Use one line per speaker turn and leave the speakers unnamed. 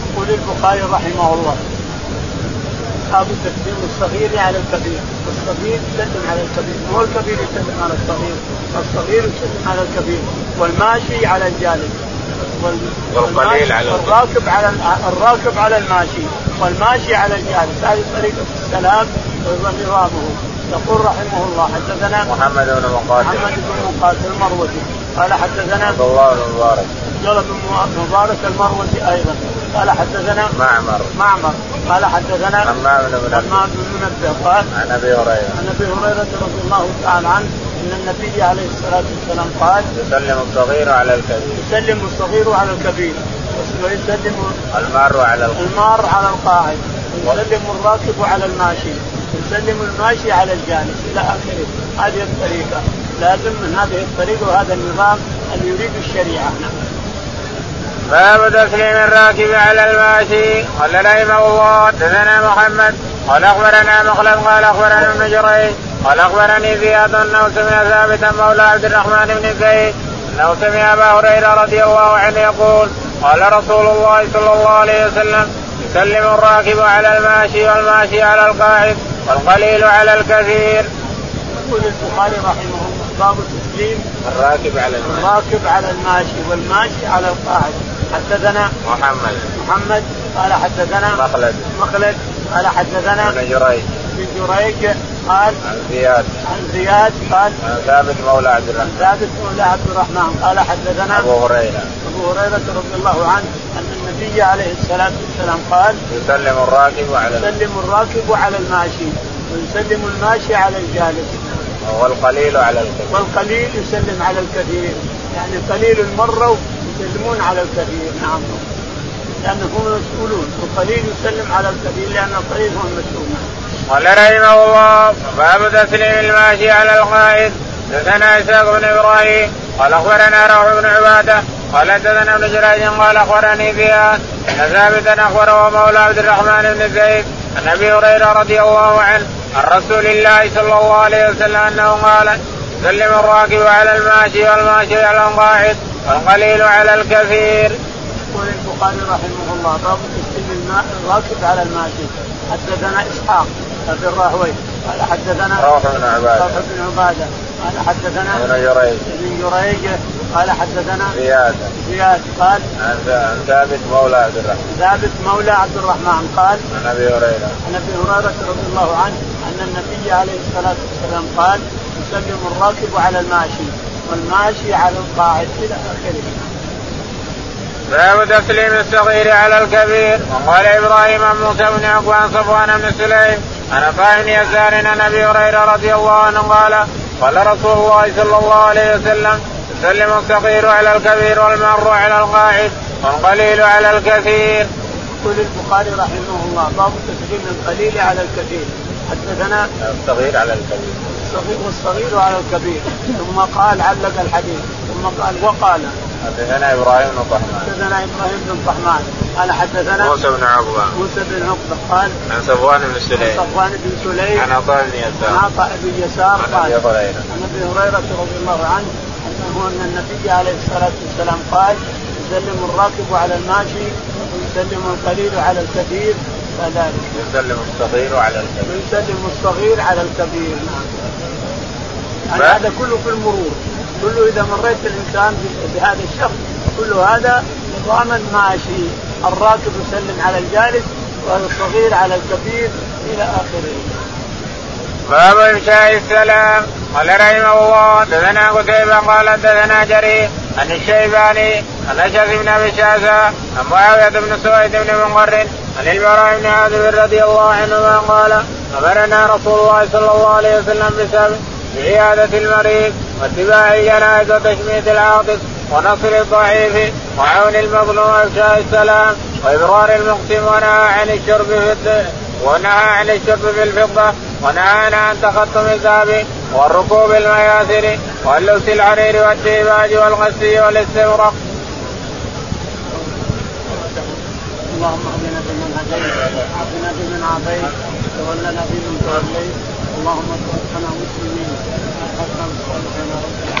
يقول البخاري رحمه الله باب تسليم الصغير على الكبير، والصغير يسلم على الكبير، مو الكبير يسلم على الصغير، الصغير يسلم على الكبير، والماشي على الجالس، وال-
والقليل
والماشي-
على الكبير.
والراكب على ال- الراكب على الماشي، والماشي على الجالس، هذه طريقة السلام ونظامه، يقول رحمه الله حدثنا
محمد بن
محمد
مقاتل
بن مقاتل المروزي قال حدثنا
عبد الله بن مبارك
عبد الله بن مبارك المروزي ايضا قال حدثنا
معمر
معمر قال حدثنا
حمام بن منبه
حماد بن منبه قال
عن ابي هريره
عن ابي هريره رضي الله تعالى عنه ان النبي عليه الصلاه والسلام قال
يسلم الصغير على الكبير
يسلم الصغير على الكبير ويسلم
المار على الخير
المار على القاعد ويسلم الراكب على الماشي ويسلم الماشي على الجالس الى اخره هذه الطريقه لازم من هذه الطريقه وهذا النظام اللي يريد الشريعه نعم.
باب تسليم الراكب على الماشي قال رحمه الله حدثنا محمد قال اخبرنا مخلد قال اخبرنا ابن جريج قال اخبرني زياد انه سمع ثابتا مولى عبد الرحمن بن زيد انه سمع ابا هريره رضي الله عنه يقول قال رسول الله صلى الله عليه وسلم يسلم الراكب على الماشي والماشي على القاعد والقليل على الكثير.
يقول البخاري رحمه الله باب التسليم
الراكب على
الراكب على الماشي والماشي على القاعد حدثنا
محمد
محمد قال حدثنا
مخلد
مخلد قال حدثنا
بن جريج
بن جريج قال
عن زياد
عن زياد قال
عن ثابت مولى عبد الرحمن
ثابت مولى عبد الرحمن قال حدثنا
ابو هريره
ابو هريره رضي الله عنه ان النبي عليه الصلاه والسلام قال
يسلم الراكب على الم-
يسلم الراكب على الماشي ويسلم الماشي على الجالس
والقليل على الكثير
والقليل يسلم على الكثير يعني قليل مروا يسلمون على الكثير نعم لانهم مسؤولون والقليل يسلم على الكثير لان القليل هو المسؤول نعم.
قال رحمه الله باب تسليم الماشي على القائد حدثنا اسحاق بن ابراهيم قال اخبرنا روح بن عباده قال حدثنا ابن جريج قال اخبرني فيها ان ثابتا اخبره مولى عبد الرحمن بن زيد عن ابي هريره رضي الله عنه عن رسول الله صلى الله عليه وسلم انه قال سلم الراكب على الماشي والماشي على القائد والقليل على الكثير.
يقول البخاري رحمه الله باب تسليم الماء الراكب على الماشي حدثنا اسحاق بن راهوي قال حدثنا
روح بن عباده
روح بن عباده قال
بن
حدثنا
جريج
ابن جريج قال حدثنا
زياده
زياد قال
عن ثابت مولى عبد الرحمن
ثابت مولى عبد الرحمن قال
عن ابي هريره
عن ابي هريره رضي الله عنه ان النبي عليه الصلاه والسلام قال يسلم الراكب على الماشي والماشي على القاعد الى اخره
باب تسليم الصغير على الكبير وقال ابراهيم عن موسى بن عقبان صفوان بن سليم عن عطاء بن يسار عن ابي هريره رضي الله عنه قال قال رسول الله صلى الله عليه وسلم يسلم الصغير على الكبير والمر على القاعد والقليل على الكثير
يقول البخاري رحمه الله باب تسليم القليل على الكثير حدثنا
الصغير على الكبير
الصغير والصغير على الكبير ثم قال علق الحديث ثم قال وقال
حدثنا ابراهيم بن طهمان
حدثنا ابراهيم بن طحمان قال حدثنا
بن عقبان
موسى بن عقبه قال
عن صفوان بن سليم
صفوان بن سليم
عن عطاء بن
عن
يسار
عطاء بن يسار
عن ابي
قال
هريره
عن ابي هريره رضي الله عنه انه ان النبي عليه الصلاه والسلام قال يسلم الراكب على الماشي ويسلم القليل على الكثير كذلك
يسلم الصغير على الكبير
ويسلم الصغير على الكبير نعم. يعني
ما-
هذا كله في المرور كله اذا مريت الانسان ب- بهذا الشخص كل هذا نظاما ماشي الراكب يسلم على الجالس والصغير على الكبير الى اخره
باب انشاء السلام قال رحمه الله حدثنا قتيبة قال حدثنا جرير عن الشيباني عن اشعث بن ابي شعثة عن معاوية بن سويد بن منقر عن البراء بن عازب رضي الله عنهما قال امرنا رسول الله صلى الله عليه وسلم بسبب بعيادة المريض واتباع الجنائز وتشميت العاطف ونصر الضعيف وعون المظلوم وافشاء السلام وابرار المقسم ونهى عن الشرب في الد- ونهى عن الشرب بالفضة ونهانا عن تخطم الذهب والركوب المياسر واللبس الحرير والديباج والغسي والاستبرق.
اللهم اهدنا فيمن هديت وعافنا فيمن عافيت وتولنا فيمن توليت اللهم توفنا مسلمين وحسنا صالحين ربنا